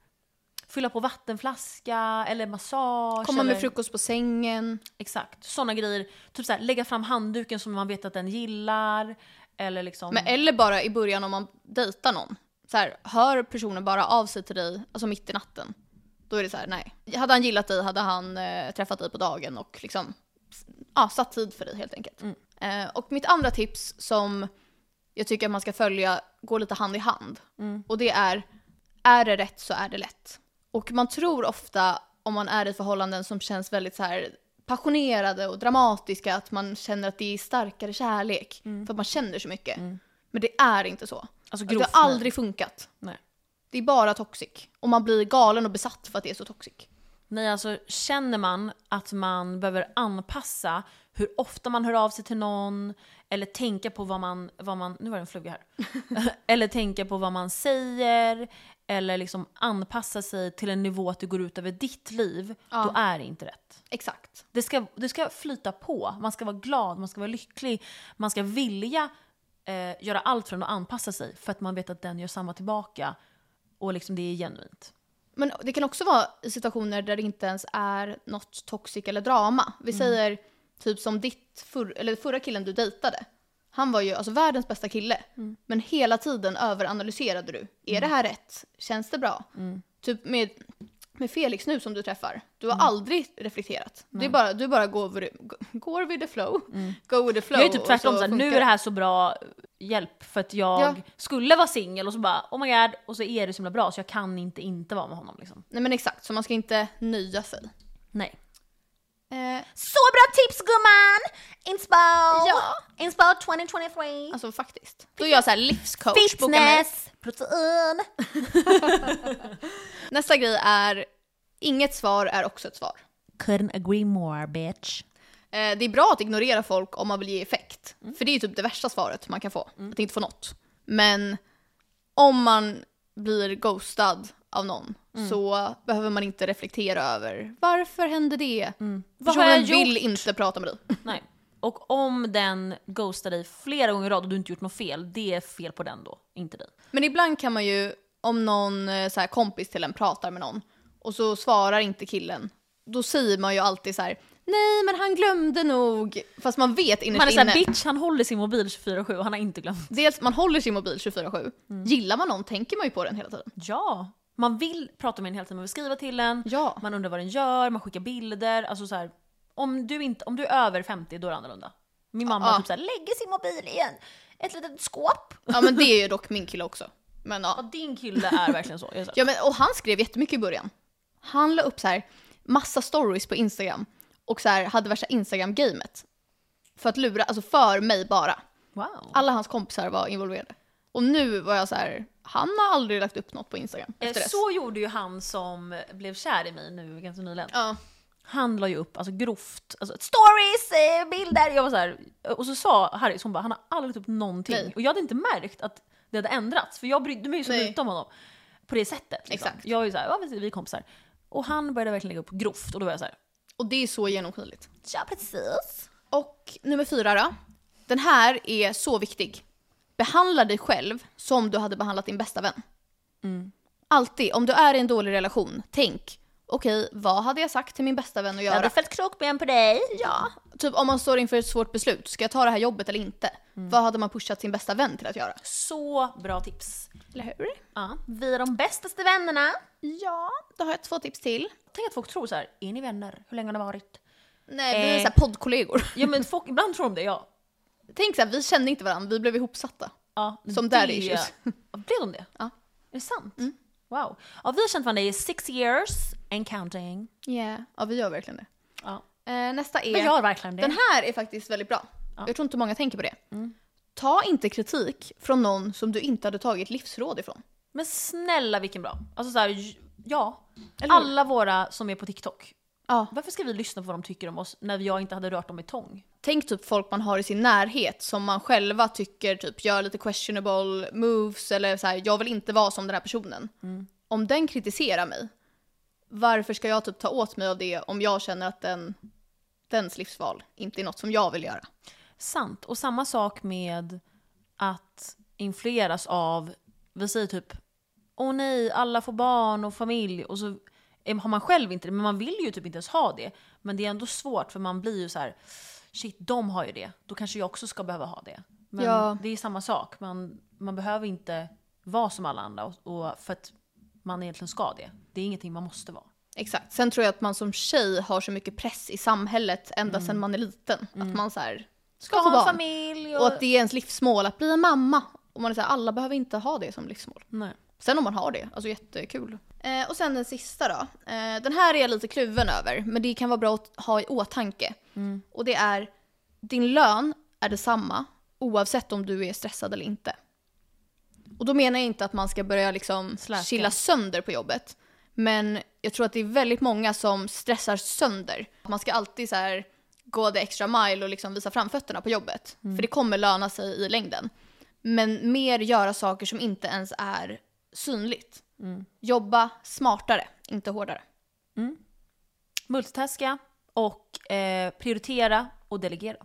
Speaker 1: fylla på vattenflaska eller massage.
Speaker 2: Komma
Speaker 1: eller,
Speaker 2: med frukost på sängen.
Speaker 1: Exakt, sådana grejer. Typ så här, lägga fram handduken som man vet att den gillar. Eller liksom...
Speaker 2: Men, Eh, eller bara i början om man dejtar någon. Så här, hör personen bara av sig till dig alltså mitt i natten. Då är det så här, nej. Hade han gillat dig hade han eh, träffat dig på dagen och liksom s- ja, satt tid för dig helt enkelt. Eh, och mitt andra tips som jag tycker att man ska följa går lite hand i hand.
Speaker 1: Mm.
Speaker 2: Och det är, är det rätt så är det lätt. Och man tror ofta om man är i förhållanden som känns väldigt så här passionerade och dramatiska att man känner att det är starkare kärlek. För att man känner så mycket. Men det är inte så.
Speaker 1: Mm. Alltså,
Speaker 2: det
Speaker 1: grovt
Speaker 2: har aldrig funkat.
Speaker 1: Nej.
Speaker 2: Det är bara toxic. Och man blir galen och besatt för att det är så toxic.
Speaker 1: Nej, alltså känner man att man behöver anpassa hur ofta man hör av sig till någon eller tänka på vad man, vad man nu var det en fluga här, eller tänka på vad man säger eller liksom anpassa sig till en nivå att det går ut över ditt liv, då är det inte rätt.
Speaker 2: Exakt.
Speaker 1: Det ska, det ska flyta på, man ska vara glad, man ska vara lycklig, man ska vilja eh, göra allt för att anpassa sig för att man vet att den gör samma tillbaka och liksom det är genuint.
Speaker 2: Men det kan också vara i situationer där det inte ens är något toxic eller drama. Vi
Speaker 1: Mm.
Speaker 2: säger typ som ditt, förr- eller förra killen du dejtade. Han var ju alltså världens bästa kille.
Speaker 1: Mm.
Speaker 2: Men hela tiden överanalyserade du. Är det här rätt? Känns det bra?
Speaker 1: Mm.
Speaker 2: Typ med, med Felix nu som du träffar. Du
Speaker 1: Mm.
Speaker 2: har aldrig reflekterat. Det är bara, du bara går, with- går with the flow. Go with the flow.
Speaker 1: Jag är typ
Speaker 2: och
Speaker 1: tvärtom
Speaker 2: så
Speaker 1: såhär, nu
Speaker 2: funkar
Speaker 1: är det här så bra hjälp för att jag
Speaker 2: Ja.
Speaker 1: skulle vara singel och så bara oh my god och så är det så himla bra så jag kan inte inte vara med honom liksom.
Speaker 2: Nej men exakt, så man ska inte nöja sig.
Speaker 1: Nej.
Speaker 2: Eh,
Speaker 1: Så bra tips gumman! Inspo!
Speaker 2: Ja.
Speaker 1: Inspo 2023!
Speaker 2: alltså faktiskt. Då är jag så här livscoach.
Speaker 1: Alltså,
Speaker 2: boka mig.
Speaker 1: Fitness! Protein!
Speaker 2: Nästa grej är, inget svar är också ett svar.
Speaker 1: Couldn't agree more bitch.
Speaker 2: Eh, det är bra att ignorera folk om man vill ge effekt.
Speaker 1: Mm.
Speaker 2: För det är ju typ det värsta svaret man kan få, att inte få något. Men om man blir ghostad av någon
Speaker 1: Mm.
Speaker 2: så behöver man inte reflektera över varför hände det?
Speaker 1: Mm. Vad har jag
Speaker 2: Personen vill
Speaker 1: gjort?
Speaker 2: inte prata med dig.
Speaker 1: Nej. Och om den ghostar dig flera gånger i rad och du inte gjort något fel, det är fel på den då, inte dig.
Speaker 2: Men ibland kan man ju, om någon eh, så här, kompis till en pratar med någon och så svarar inte killen, då säger man ju alltid så här: nej men han glömde nog. Fast man vet innerst
Speaker 1: Man är såhär
Speaker 2: inne.
Speaker 1: bitch, han håller sin mobil 24-7 och han har inte glömt.
Speaker 2: Dels man håller sin mobil 24-7. Gillar man någon tänker man ju på den hela tiden.
Speaker 1: Ja! Man vill prata med en hela tiden, man vill skriva till den,
Speaker 2: Ja.
Speaker 1: man undrar vad den gör, man skickar bilder. Alltså så här, om, du inte, om du är över 50 då är det annorlunda. Min mamma
Speaker 2: Ja.
Speaker 1: typ så här, lägger sin mobil i en, ett litet skåp.
Speaker 2: Ja men det är ju dock min kille också. Men,
Speaker 1: Ja,
Speaker 2: ja.
Speaker 1: din kille är verkligen så. Jag är så här,
Speaker 2: Ja, men, och han skrev jättemycket i början. Han la upp så här massa stories på Instagram och så här hade värsta Instagram-gamet. För att lura, alltså för mig bara.
Speaker 1: wow.
Speaker 2: Alla hans kompisar var involverade. Och nu var jag så här, han har aldrig lagt upp något på Instagram
Speaker 1: Eh,
Speaker 2: efter dess.
Speaker 1: Så gjorde ju han som blev kär i mig nu ganska nyligen.
Speaker 2: Ja.
Speaker 1: Han la ju upp alltså, grovt, alltså, stories, eh, bilder. Jag var så här, och så sa Harry, så hon bara, han har aldrig lagt upp någonting.
Speaker 2: Nej.
Speaker 1: Och jag hade inte märkt att det hade ändrats, för jag brydde mig ju så
Speaker 2: Nej.
Speaker 1: lite om honom. På det sättet. Liksom.
Speaker 2: Exakt.
Speaker 1: Jag är ju såhär, ja, vi vi är kompisar. Och han började verkligen lägga upp grovt och då var jag så här,
Speaker 2: Och det är så genomskinligt.
Speaker 1: ja precis.
Speaker 2: Och nummer fyra då. Den här är så viktig. Behandla dig själv som du hade behandlat din bästa vän. Mm. Alltid, om du är i en dålig relation, tänk okej, vad hade jag sagt till min bästa vän att
Speaker 1: Jag hade
Speaker 2: göra?
Speaker 1: fällt krokben på dig.
Speaker 2: Ja, typ om man står inför ett svårt beslut, ska jag ta det här jobbet eller inte? Vad hade man pushat sin bästa vän till att göra?
Speaker 1: Så bra tips.
Speaker 2: Eller hur?
Speaker 1: Ja, vi är de bästaste vännerna.
Speaker 2: Ja, då har jag två tips till.
Speaker 1: Tänk att folk tror så här, är ni vänner? Hur länge har ni varit?
Speaker 2: Nej, vi är
Speaker 1: Eh.
Speaker 2: så här poddkollegor.
Speaker 1: Ja men folk, ibland tror de det, ja.
Speaker 2: Tänk så här, vi kände inte varandra, vi blev ihopsatta.
Speaker 1: Ja,
Speaker 2: Som
Speaker 1: det-
Speaker 2: daddy issues.
Speaker 1: Ja, Blev de det?
Speaker 2: Ja. Mm.
Speaker 1: Är det sant? Wow. Ja, vi har känt varandra i six years and counting.
Speaker 2: Yeah. Ja, vi gör verkligen det.
Speaker 1: Ja.
Speaker 2: Eh, nästa är...
Speaker 1: Vi gör verkligen det.
Speaker 2: Den här är faktiskt väldigt bra. Jag tror inte många tänker på det. Ta inte kritik från någon som du inte hade tagit livsråd ifrån.
Speaker 1: Men snälla vilken bra. Alltså så här, j- ja.
Speaker 2: Eller hur?
Speaker 1: Alla våra som är på TikTok.
Speaker 2: Ja.
Speaker 1: Varför ska vi lyssna på vad de tycker om oss när jag inte hade rört dem i tång?
Speaker 2: Tänk typ folk man har i sin närhet som man själva tycker typ gör lite questionable moves eller så här, jag vill inte vara som den här personen. Om den kritiserar mig, varför ska jag typ ta åt mig av det om jag känner att den, dens livsval inte är något som jag vill göra?
Speaker 1: Sant. Och samma sak med att influeras av, vi säger typ åh nej, alla får barn och familj och så eh, har man själv inte det, men man vill ju typ inte ens ha det. Men det är ändå svårt för man blir ju så här, shit de har ju det, då kanske jag också ska behöva ha det. Men
Speaker 2: Ja.
Speaker 1: det är samma sak, man, man behöver inte vara som alla andra och, och för att man egentligen ska det. Det är ingenting man måste vara.
Speaker 2: Exakt. Sen tror jag att man som tjej har så mycket press i samhället ända sedan man är liten. Att man så här, ska
Speaker 1: Ska
Speaker 2: få
Speaker 1: ha en
Speaker 2: barn.
Speaker 1: familj och...
Speaker 2: Och att det är ens livsmål att bli en mamma. Och man är så här, alla behöver inte ha det som livsmål.
Speaker 1: Nej.
Speaker 2: Sen om man har det, alltså jättekul. Eh, och sen den sista då. Eh, den här är jag lite kluven över, men det kan vara bra att ha i åtanke. Och det är, din lön är detsamma oavsett om du är stressad eller inte. Och då menar jag inte att man ska börja liksom
Speaker 1: Släka.
Speaker 2: chilla sönder på jobbet. Men jag tror att det är väldigt många som stressar sönder. Man ska alltid så här gå det extra mile och liksom visa framfötterna på jobbet. För det kommer löna sig i längden. Men mer göra saker som inte ens är synligt. Jobba smartare, inte hårdare.
Speaker 1: Multitaska och eh, prioritera och delegera.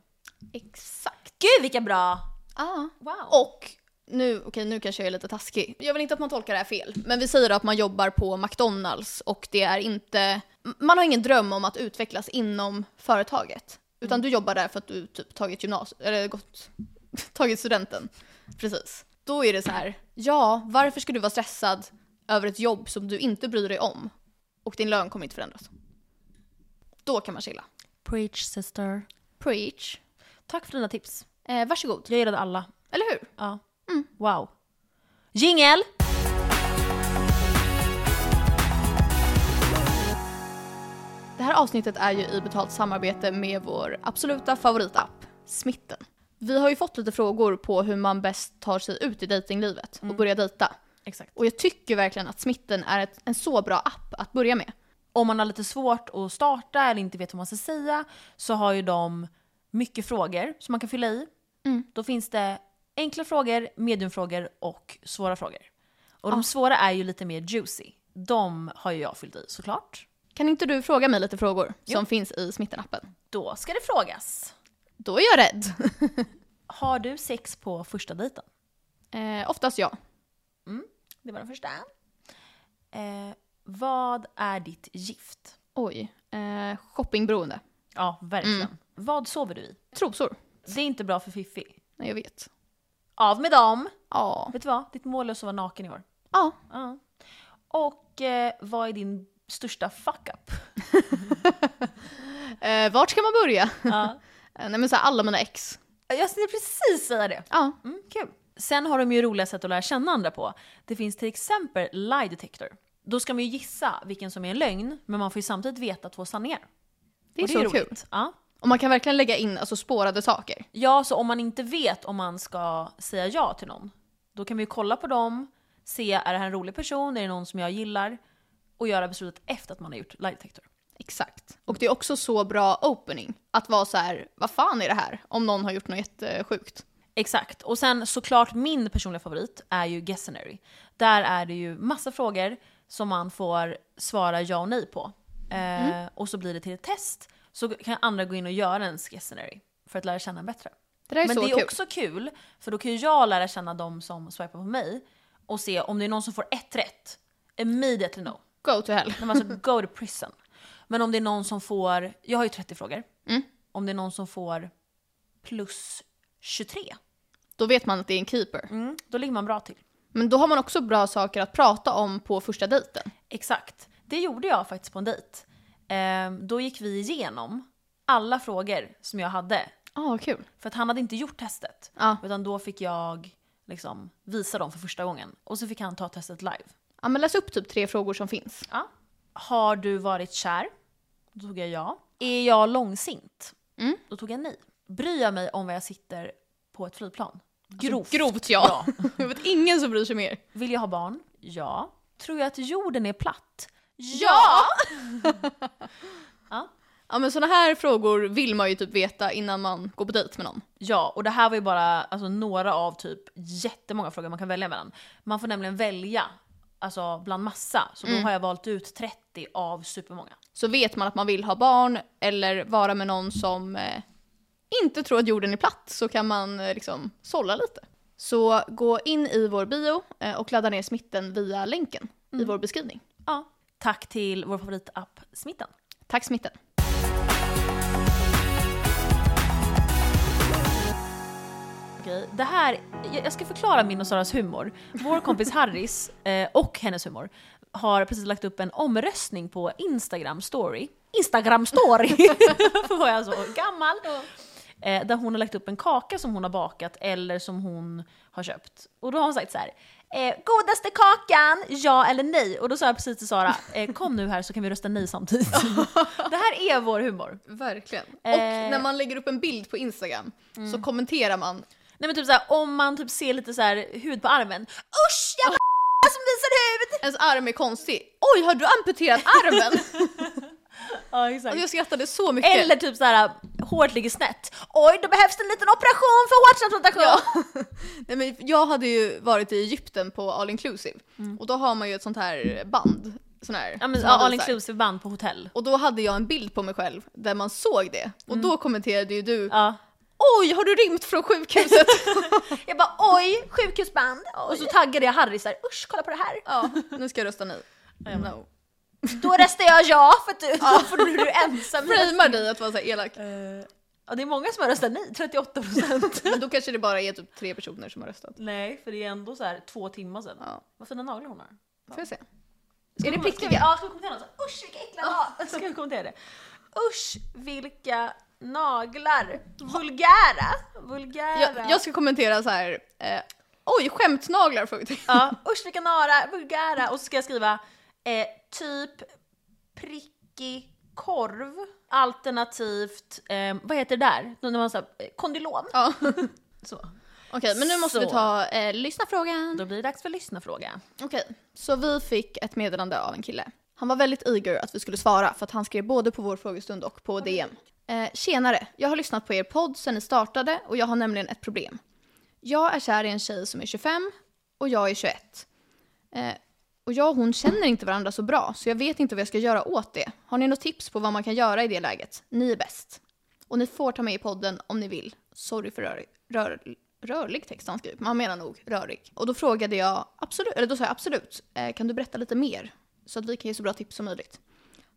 Speaker 2: Exakt.
Speaker 1: Gud vilka bra!
Speaker 2: Ah.
Speaker 1: Wow.
Speaker 2: Och nu, okej nu kanske jag är lite taskig. Jag vill inte att man tolkar det här fel. Men vi säger då att man jobbar på McDonalds och det är inte, m- man har ingen dröm om att utvecklas inom företaget. Utan du jobbar där för att du typ tagit gymnasiet, eller gått, tagit studenten. Precis. Då är det så här, ja varför ska du vara stressad över ett jobb som du inte bryr dig om? Och din lön kommer inte förändras. Då kan man chilla.
Speaker 1: Preach sister.
Speaker 2: Preach.
Speaker 1: Tack för dina tips.
Speaker 2: Eh, varsågod.
Speaker 1: Jag gillade alla.
Speaker 2: Eller hur?
Speaker 1: Ja. Wow. Jingel!
Speaker 2: Det här avsnittet är ju i betalt samarbete med vår absoluta favoritapp, Smitten. Vi har ju fått lite frågor på hur man bäst tar sig ut i dejtinglivet och börjar dejta.
Speaker 1: Exakt.
Speaker 2: Och jag tycker verkligen att Smitten är ett, en så bra app att börja med.
Speaker 1: om man har lite svårt att starta eller inte vet vad man ska säga så har ju de mycket frågor som man kan fylla i. Då finns det enkla frågor, mediumfrågor och svåra frågor. Och de svåra är ju lite mer juicy. De har ju jag fyllt i såklart.
Speaker 2: Kan inte du fråga mig lite frågor som finns i Smitten-appen?
Speaker 1: Då ska det frågas.
Speaker 2: Då är jag rädd.
Speaker 1: Har du sex på första dejten?
Speaker 2: eh, oftast ja.
Speaker 1: Det var den första. Eh, vad är ditt gift?
Speaker 2: Oj. Eh, shoppingberoende.
Speaker 1: Ja, verkligen. Mm. Vad sover du i?
Speaker 2: Trosor.
Speaker 1: Det är inte bra för Fiffi.
Speaker 2: Nej, jag vet.
Speaker 1: Av med dem!
Speaker 2: Ja.
Speaker 1: Vet du vad? Ditt mål är att sova naken i år.
Speaker 2: Ja.
Speaker 1: Ja. Och eh, vad är din största fuck-up?
Speaker 2: Eh, vart ska man börja?
Speaker 1: Ja.
Speaker 2: Eh, Nej men så här, alla mina ex.
Speaker 1: Jag skulle precis säga det.
Speaker 2: Ja.
Speaker 1: Mm, kul. Sen har de ju roliga sätt att lära känna andra på. Det finns till exempel lie detector. Då ska man ju gissa vilken som är en lögn, men man får ju samtidigt veta två sanningar.
Speaker 2: Det är
Speaker 1: Och
Speaker 2: så kul.
Speaker 1: roligt. Ja.
Speaker 2: Och man kan verkligen lägga in alltså, spårade saker.
Speaker 1: ja, så om man inte vet om man ska säga ja till någon, då kan man ju kolla på dem, se är det här en rolig person, är det någon som jag gillar? Och göra beslutet efter att man har gjort lie detector.
Speaker 2: Exakt. Och det är också så bra opening. Att vara så här, vad fan är det här? Om någon har gjort något jättesjukt.
Speaker 1: Exakt. Och sen såklart min personliga favorit är ju Guessenary. Där är det ju massa frågor som man får svara ja och nej på. Eh, Och så blir det till ett test. Så kan andra gå in och göra en Guessenary för att lära känna en bättre.
Speaker 2: Det där är
Speaker 1: Men
Speaker 2: så
Speaker 1: det är
Speaker 2: kul.
Speaker 1: också kul, för då kan ju jag lära känna de som swipar på mig och se om det är någon som får ett rätt, immediately no.
Speaker 2: Go to hell.
Speaker 1: De alltså go to prison. Men om det är någon som får, jag har ju 30 frågor.
Speaker 2: Mm.
Speaker 1: Om det är någon som får plus 23,
Speaker 2: Då vet man att det är en keeper.
Speaker 1: Mm, då ligger man bra till.
Speaker 2: Men då har man också bra saker att prata om på första dejten.
Speaker 1: Exakt. Det gjorde jag faktiskt på en dejt. Ehm, då gick vi igenom alla frågor som jag hade.
Speaker 2: Ja, Ah, kul.
Speaker 1: För att han hade inte gjort testet.
Speaker 2: Ja.
Speaker 1: Utan då fick jag liksom visa dem för första gången. Och så fick han ta testet live.
Speaker 2: Ja, men läs upp typ tre frågor som finns.
Speaker 1: Ja. Har du varit kär? Då tog jag ja. Är jag långsint?
Speaker 2: Mm.
Speaker 1: Då tog jag nej. Bryr jag mig om var jag sitter på ett flygplan?
Speaker 2: Alltså,
Speaker 1: Grovt.
Speaker 2: Grovt ja. jag vet ingen som bryr sig mer.
Speaker 1: Vill jag ha barn? Ja. Tror jag att jorden är platt?
Speaker 2: Ja!
Speaker 1: Ja.
Speaker 2: Ja men sådana här frågor vill man ju typ veta innan man går på dejt med någon.
Speaker 1: Ja, och det här var ju bara alltså, några av typ jättemånga frågor man kan välja mellan. Man får nämligen välja alltså, bland massa, så
Speaker 2: Mm.
Speaker 1: då har jag valt ut 30 av supermånga.
Speaker 2: Så vet man att man vill ha barn eller vara med någon som eh, inte tror att jorden är platt så kan man eh, liksom sålla lite. Så gå in i vår bio eh, och ladda ner smitten via länken i vår beskrivning.
Speaker 1: Ja. Tack till vår favoritapp Smitten.
Speaker 2: Tack smitten!
Speaker 1: Okej, det här, jag jag ska förklara min och Saras humor. Vår kompis Harrys eh, och hennes humor. har precis lagt upp en omröstning på Instagram story. Instagram story! var jag så gammal. Eh, där hon har lagt upp en kaka som hon har bakat eller som hon har köpt. Och då har hon sagt så här. Eh, godaste kakan, ja eller nej? Och då sa jag precis till Sara, eh, kom nu här så kan vi rösta nej samtidigt. det här är vår humor.
Speaker 2: Verkligen. Och
Speaker 1: Eh.
Speaker 2: när man lägger upp en bild på Instagram så kommenterar man.
Speaker 1: Nej men typ såhär, om man typ ser lite så här hud på armen. Usch jävla som visar hud!
Speaker 2: Ens arm är konstig. Oj, har du amputerat armen?
Speaker 1: Ja
Speaker 2: alltså, jag
Speaker 1: exakt.
Speaker 2: skrattade så mycket.
Speaker 1: Eller typ såhär, håret ligger snett. Oj, då behövs det en liten operation för hårtransplantation!
Speaker 2: Ja. Nej, men jag hade ju varit i Egypten på all inclusive och då har man ju ett sånt här band. Sån här,
Speaker 1: Ja, men,
Speaker 2: som
Speaker 1: ja,
Speaker 2: man
Speaker 1: all
Speaker 2: visar.
Speaker 1: inclusive band på hotell.
Speaker 2: Och då hade jag en bild på mig själv där man såg det och då kommenterade ju du
Speaker 1: Mm. Ja.
Speaker 2: Oj, har du rymt från sjukhuset?
Speaker 1: Jag bara oj, sjukhusband! Och så taggade jag Harry såhär, usch kolla på det här!
Speaker 2: ja, nu ska jag rösta nej. No.
Speaker 1: Då röstar jag ja för att du, då får du du är ensam.
Speaker 2: Framar dig att vara så här elak.
Speaker 1: Ja, det är många som har röstat nej, 38 procent.
Speaker 2: Men då kanske det bara är typ tre personer som har röstat.
Speaker 1: nej, för det är ändå så här två timmar sedan.
Speaker 2: Ja.
Speaker 1: Vad fina naglar hon har.
Speaker 2: Får jag se?
Speaker 1: Ska
Speaker 2: Är det
Speaker 1: vi- ska vi-
Speaker 2: prickiga?
Speaker 1: Ja, ska vi kommentera något? så? Usch vilka äckliga naglar! Ska vi kommentera det? Usch vilka naglar! Vulgära! Vulgära!
Speaker 2: Jag, jag ska kommentera så här. Eh, Oj, skämtnaglar? frågetecken.
Speaker 1: Ja, usch vilka nara, vulgära! Och så ska jag skriva eh, typ prickig korv alternativt, eh, vad heter det där? När man säger eh, kondylom.
Speaker 2: Ja. Okej,
Speaker 1: Så.
Speaker 2: men nu måste vi
Speaker 1: Så.
Speaker 2: ta eh, lyssna frågan.
Speaker 1: Då blir det dags för lyssnafråga.
Speaker 2: Okej, så vi fick ett meddelande av en kille. Han var väldigt eager att vi skulle svara för att han skrev både på vår frågestund och på DM. Eh, tjenare, jag har lyssnat på er podd sedan ni startade och jag har nämligen ett problem. Jag är kär i en tjej som är 25 och jag är 21. Eh, och jag och hon känner inte varandra så bra så jag vet inte vad jag ska göra åt det. Har ni något tips på vad man kan göra i det läget? Ni är bäst. Och ni får ta med i podden om ni vill. Sorry för rör, rör, rörlig text han skriver. Man menar nog rörig. Och då frågade jag, absolut, eller då sa jag absolut, eh, kan du berätta lite mer? Så att vi kan ge så bra tips som möjligt.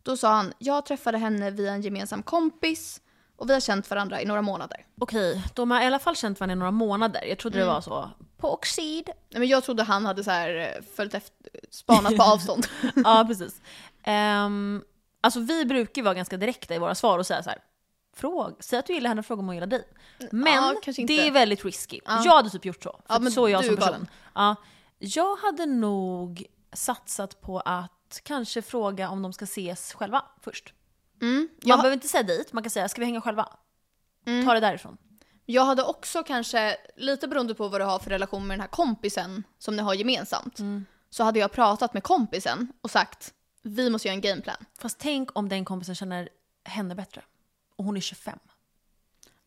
Speaker 2: Då sa han, jag träffade henne via en gemensam kompis och vi har känt varandra i några månader.
Speaker 1: Okej, de har i alla fall känt varandra i några månader. Jag trodde det var så. Mm. På oxid.
Speaker 2: Nej, men jag trodde han hade så här eh, följt efter, spanat på avstånd.
Speaker 1: ja, precis. Ehm, alltså vi brukar ju vara ganska direkta i våra svar och säga så här. Fråg, säg att du gillar henne och fråga om hon gillar dig. Men
Speaker 2: Mm, ja, kanske inte.
Speaker 1: det är väldigt risky. Jag hade typ gjort så. För
Speaker 2: Ja,
Speaker 1: att
Speaker 2: men
Speaker 1: så är jag
Speaker 2: du
Speaker 1: som
Speaker 2: är
Speaker 1: person.
Speaker 2: galen.
Speaker 1: Ja, jag hade nog satsat på att kanske fråga om de ska ses själva först. Man
Speaker 2: jag-
Speaker 1: behöver inte säga dit, man kan säga ska vi hänga själva?
Speaker 2: Mm.
Speaker 1: Ta det därifrån.
Speaker 2: Jag hade också kanske, lite beroende på vad du har för relation med den här kompisen som ni har gemensamt, så hade jag pratat med kompisen och sagt vi måste göra en gameplan.
Speaker 1: Fast tänk om den kompisen känner henne bättre. Och hon är 25.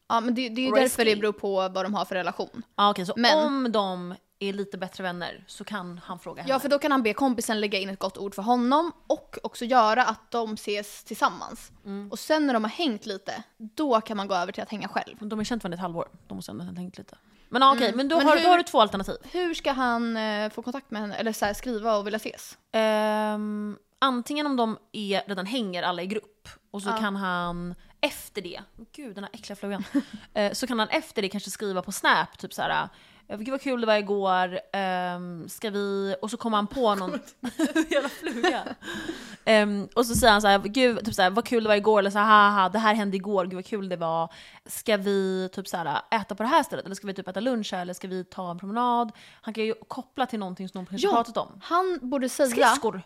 Speaker 2: Ja men det, det är ju
Speaker 1: Risky.
Speaker 2: därför det beror på vad de har för relation.
Speaker 1: Ja, okej, så
Speaker 2: Men-
Speaker 1: om de är lite bättre vänner så kan han fråga henne.
Speaker 2: Ja för då kan han be kompisen lägga in ett gott ord för honom och också göra att de ses tillsammans. Och sen när de har hängt lite, då kan man gå över till att hänga själv.
Speaker 1: Men De har känt varandra ett halvår, de måste ändå ha tänkt lite. Men ja, okej, men, då,
Speaker 2: Mm. Men
Speaker 1: har,
Speaker 2: hur-
Speaker 1: då har du två alternativ.
Speaker 2: Hur ska han eh, få kontakt med henne, eller så här, skriva och vilja ses?
Speaker 1: Ehm, antingen om de är, redan hänger alla i grupp och så kan han efter det, gud den här äckliga flugan, Eh, så kan han efter det kanske skriva på Snap typ så här. eh, Gud vad kul det var igår, ehm, ska vi... Och så kommer han på någon... Jävla fluga. Ehm, och så säger han så här, gud, typ så här, vad kul det var igår, eller så här, haha, det här hände igår, gud vad kul det var. Ska vi typ så här, äta på det här stället, eller ska vi typ äta lunch här, eller ska vi ta en promenad? Han kan ju koppla till någonting som de kanske pratat om.
Speaker 2: han borde säga...
Speaker 1: Skridskor!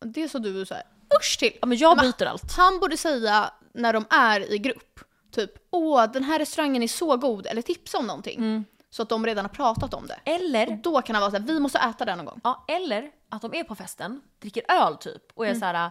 Speaker 2: Det sa du så här, usch till.
Speaker 1: Ja men jag
Speaker 2: Men-
Speaker 1: byter allt.
Speaker 2: Han borde säga när de är i grupp, typ åh den här restaurangen är så god, eller tipsa om någonting.
Speaker 1: Mm.
Speaker 2: Så att de redan har pratat om det. Och
Speaker 1: Eller,
Speaker 2: då kan han vara såhär, vi måste äta där någon gång.
Speaker 1: ja, eller att de är på festen, dricker öl typ och är
Speaker 2: Mm.
Speaker 1: så här,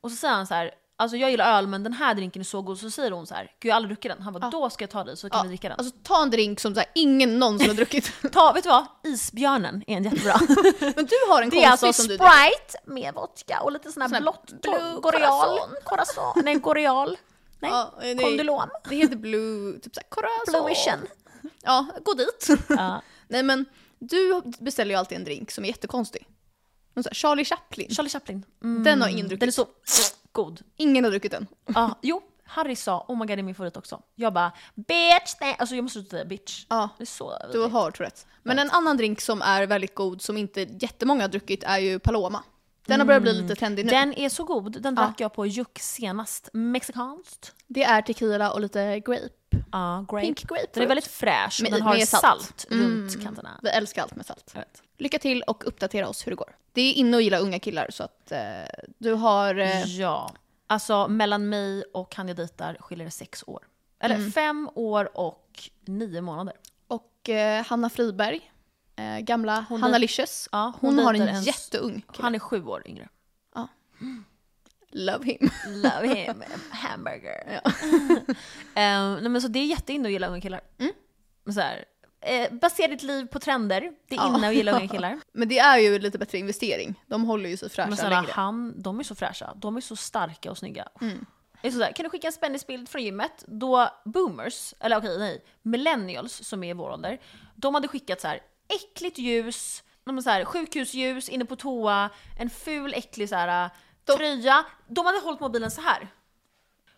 Speaker 1: och så säger han så här, alltså jag gillar öl men den här drinken är så god, så säger hon så här, gud jag har aldrig druckit den. Han bara, då ska jag ta dig så kan vi dricka den.
Speaker 2: Alltså ta en drink som så här, ingen någonsin har druckit.
Speaker 1: ta, vet du vad? Isbjörnen är en jättebra.
Speaker 2: Men du har en
Speaker 1: Det är
Speaker 2: kompis
Speaker 1: alltså
Speaker 2: som du
Speaker 1: Sprite med vodka och lite sån här
Speaker 2: Sån här
Speaker 1: blått,
Speaker 2: blue
Speaker 1: Goreal,
Speaker 2: Corazon.
Speaker 1: Corazon, nej Goreal, nej,
Speaker 2: Ja, nej.
Speaker 1: Kondylom,
Speaker 2: Det heter blue, typ såhär corazon.
Speaker 1: Bluishen.
Speaker 2: Ja, gå dit.
Speaker 1: Ja.
Speaker 2: Nej men du beställer ju alltid en drink som är jättekonstig. Någon så här, Charlie Chaplin.
Speaker 1: Charlie Chaplin. Mm.
Speaker 2: Den har ingen druckit.
Speaker 1: Den är så god.
Speaker 2: Ingen har druckit den.
Speaker 1: Ja, jo, Harry sa oh my god det är min favorit också. Jag bara bitch, nej. Alltså jag måste säga bitch.
Speaker 2: Ja.
Speaker 1: Det är så
Speaker 2: Du
Speaker 1: vidrigt.
Speaker 2: har Tourettes. Men en annan drink som är väldigt god som inte jättemånga har druckit är ju Paloma. Den har börjat bli lite trendig nu.
Speaker 1: Mm. Den är så god. Den drack jag på Juck senast. Mexikanskt.
Speaker 2: Det är tequila och lite grape.
Speaker 1: Ja, grape.
Speaker 2: Pink grapefruit.
Speaker 1: Den är väldigt fräsch och
Speaker 2: Med-
Speaker 1: den har
Speaker 2: med
Speaker 1: salt,
Speaker 2: salt. Mm.
Speaker 1: runt kanterna.
Speaker 2: Vi älskar allt med salt.
Speaker 1: Jag vet.
Speaker 2: Lycka till och uppdatera oss hur det går. Det är inne att gilla unga killar så att eh, du har... Eh,
Speaker 1: Ja. Alltså mellan mig och han jag dejtar skiljer det sex år. Eller
Speaker 2: Mm.
Speaker 1: fem år och nio månader.
Speaker 2: och eh, Hanna Friberg, eh, gamla
Speaker 1: Hon
Speaker 2: Hanna
Speaker 1: dej-
Speaker 2: Licious.
Speaker 1: Ja, hon
Speaker 2: hon har en,
Speaker 1: dejtar en s-
Speaker 2: jätteung kille.
Speaker 1: Han är sju år yngre.
Speaker 2: Love him.
Speaker 1: Love him. Hamburger. Eh, nej, men så det är jätteinne att gilla unga killar.
Speaker 2: Mm.
Speaker 1: Så här, eh, basera ditt liv på trender. Det är
Speaker 2: Ja.
Speaker 1: inne att gilla unga killar.
Speaker 2: Men det är ju lite bättre investering. De håller ju sig fräscha
Speaker 1: Men snälla,
Speaker 2: längre.
Speaker 1: han, de är så fräscha. De är så starka och snygga. Det är sådär, kan du skicka en spänningsbild från gymmet? Då boomers, eller okej nej, millennials som är i vår ålder, de hade skickat så här äckligt ljus, de var så här, sjukhusljus inne på toa, en ful äcklig så här, äh, tröja. De hade hållit mobilen så här.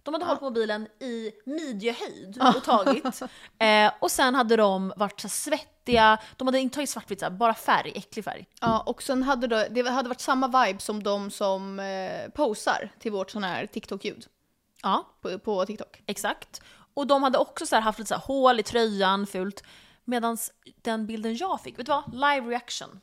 Speaker 1: De hade hållit mobilen i midjehöjd och tagit. eh, och sen hade de varit så här svettiga, de hade inte tagit svartvitt, så här, bara färg, äcklig färg.
Speaker 2: Ja, och sen hade då, det hade varit samma vibe som de som eh, posar till vårt sån här TikTok-ljud
Speaker 1: Ja.
Speaker 2: på, på TikTok.
Speaker 1: Exakt. Och de hade också så här haft lite så här hål i tröjan, fult. Medan den bilden jag fick, vet du vad? Live reaction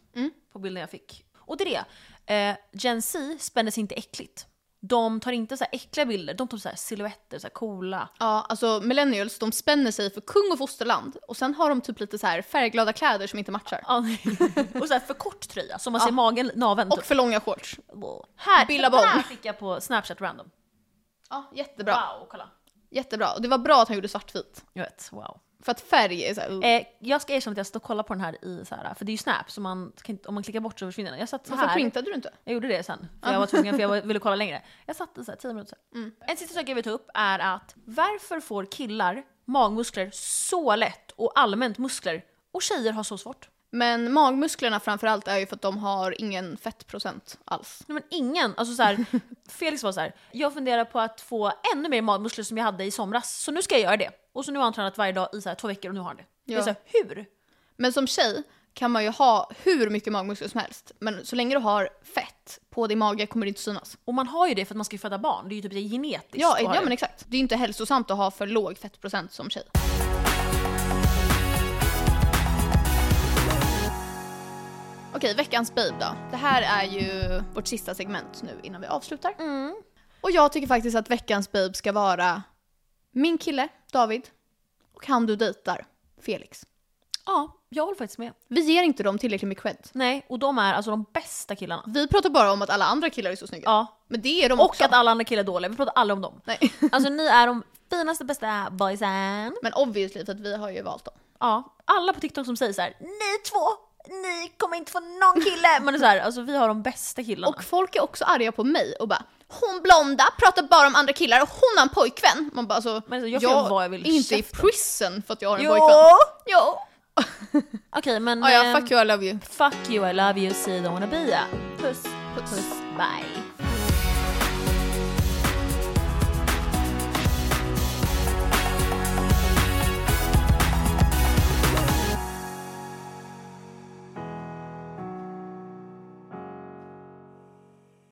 Speaker 1: på bilden jag fick. Och det är det. Eh, Gen Z spänner sig inte äckligt. De tar inte så här äckliga bilder, de tar så här silhuetter, så här coola.
Speaker 2: Ja, alltså millennials de spänner sig för kung och fosterland och sen har de typ lite så här färgglada kläder som inte matchar.
Speaker 1: Ja. och så här för kort tröja, så man ser magen, naveln. typ.
Speaker 2: Och för långa shorts.
Speaker 1: här,
Speaker 2: Billabong.
Speaker 1: Den här fick jag på Snapchat random.
Speaker 2: Ja, jättebra.
Speaker 1: Wow, kolla.
Speaker 2: Jättebra. Och det var bra att han gjorde svartvit.
Speaker 1: Jag vet, wow.
Speaker 2: För att färg är så här, uh.
Speaker 1: Eh, jag ska erkänna att jag satt och kollade på den här i så här, för det är ju Snap, så man kan inte, om man klickar bort så försvinner den. Jag satt så
Speaker 2: Varför
Speaker 1: här.
Speaker 2: printade du inte?
Speaker 1: Jag gjorde det sen, för jag var tvungen för jag var- ville kolla längre. Jag satt i så här 10 minuter.
Speaker 2: Mm.
Speaker 1: En sista sak jag vill ta upp är att varför får killar magmuskler så lätt och allmänt muskler och tjejer har så svårt?
Speaker 2: Men magmusklerna framförallt är ju för att de har ingen fettprocent alls.
Speaker 1: Nej, men ingen. Alltså så här, Felix var så här, jag funderar på att få ännu mer magmuskler som jag hade i somras, så nu ska jag göra det. Och så nu har han tränat varje dag i så här två veckor och nu har han det. Jag
Speaker 2: Ja.
Speaker 1: är så här, hur?
Speaker 2: Men som tjej kan man ju ha hur mycket magmuskler som helst, men så länge du har fett på din mage kommer det inte synas.
Speaker 1: Och man har ju det för att man ska ju föda barn, det är ju typ det är genetiskt.
Speaker 2: Ja,
Speaker 1: att ha
Speaker 2: ja
Speaker 1: det.
Speaker 2: men exakt. Det är ju inte hälsosamt att ha för låg fettprocent som tjej. Okej, veckans babe då. Det här är ju vårt sista segment nu innan vi avslutar.
Speaker 1: Mm.
Speaker 2: Och jag tycker faktiskt att veckans babe ska vara min kille David och han du dejtar, Felix.
Speaker 1: ja, jag håller faktiskt med.
Speaker 2: Vi ger inte dem tillräckligt med cred.
Speaker 1: Nej, och de är alltså de bästa killarna.
Speaker 2: Vi pratar bara om att alla andra killar är så snygga.
Speaker 1: Ja,
Speaker 2: Men det är de
Speaker 1: Och
Speaker 2: också.
Speaker 1: att alla andra killar är dåliga, vi pratar aldrig om dem.
Speaker 2: Nej.
Speaker 1: Alltså ni är de finaste, bästa boysen.
Speaker 2: Men obviously för att vi har ju valt dem.
Speaker 1: Ja, alla på TikTok som säger så här: ni två, ni kommer inte få någon kille. Man är så här, alltså vi har de bästa killarna.
Speaker 2: Och folk är också arga på mig och bara Hon blonda pratar bara om andra killar och hon har en pojkvän. Man bara alltså,
Speaker 1: Men alltså, jag får göra vad jag vill,
Speaker 2: är inte i
Speaker 1: käften.
Speaker 2: prison för att jag har en
Speaker 1: Jo!
Speaker 2: pojkvän. Jo!
Speaker 1: Okej men...
Speaker 2: Ja, ja,
Speaker 1: ehm,
Speaker 2: fuck you, I love you.
Speaker 1: fuck you, I love you, see you don't wanna be a. Puss,
Speaker 2: Puss.
Speaker 1: puss, bye.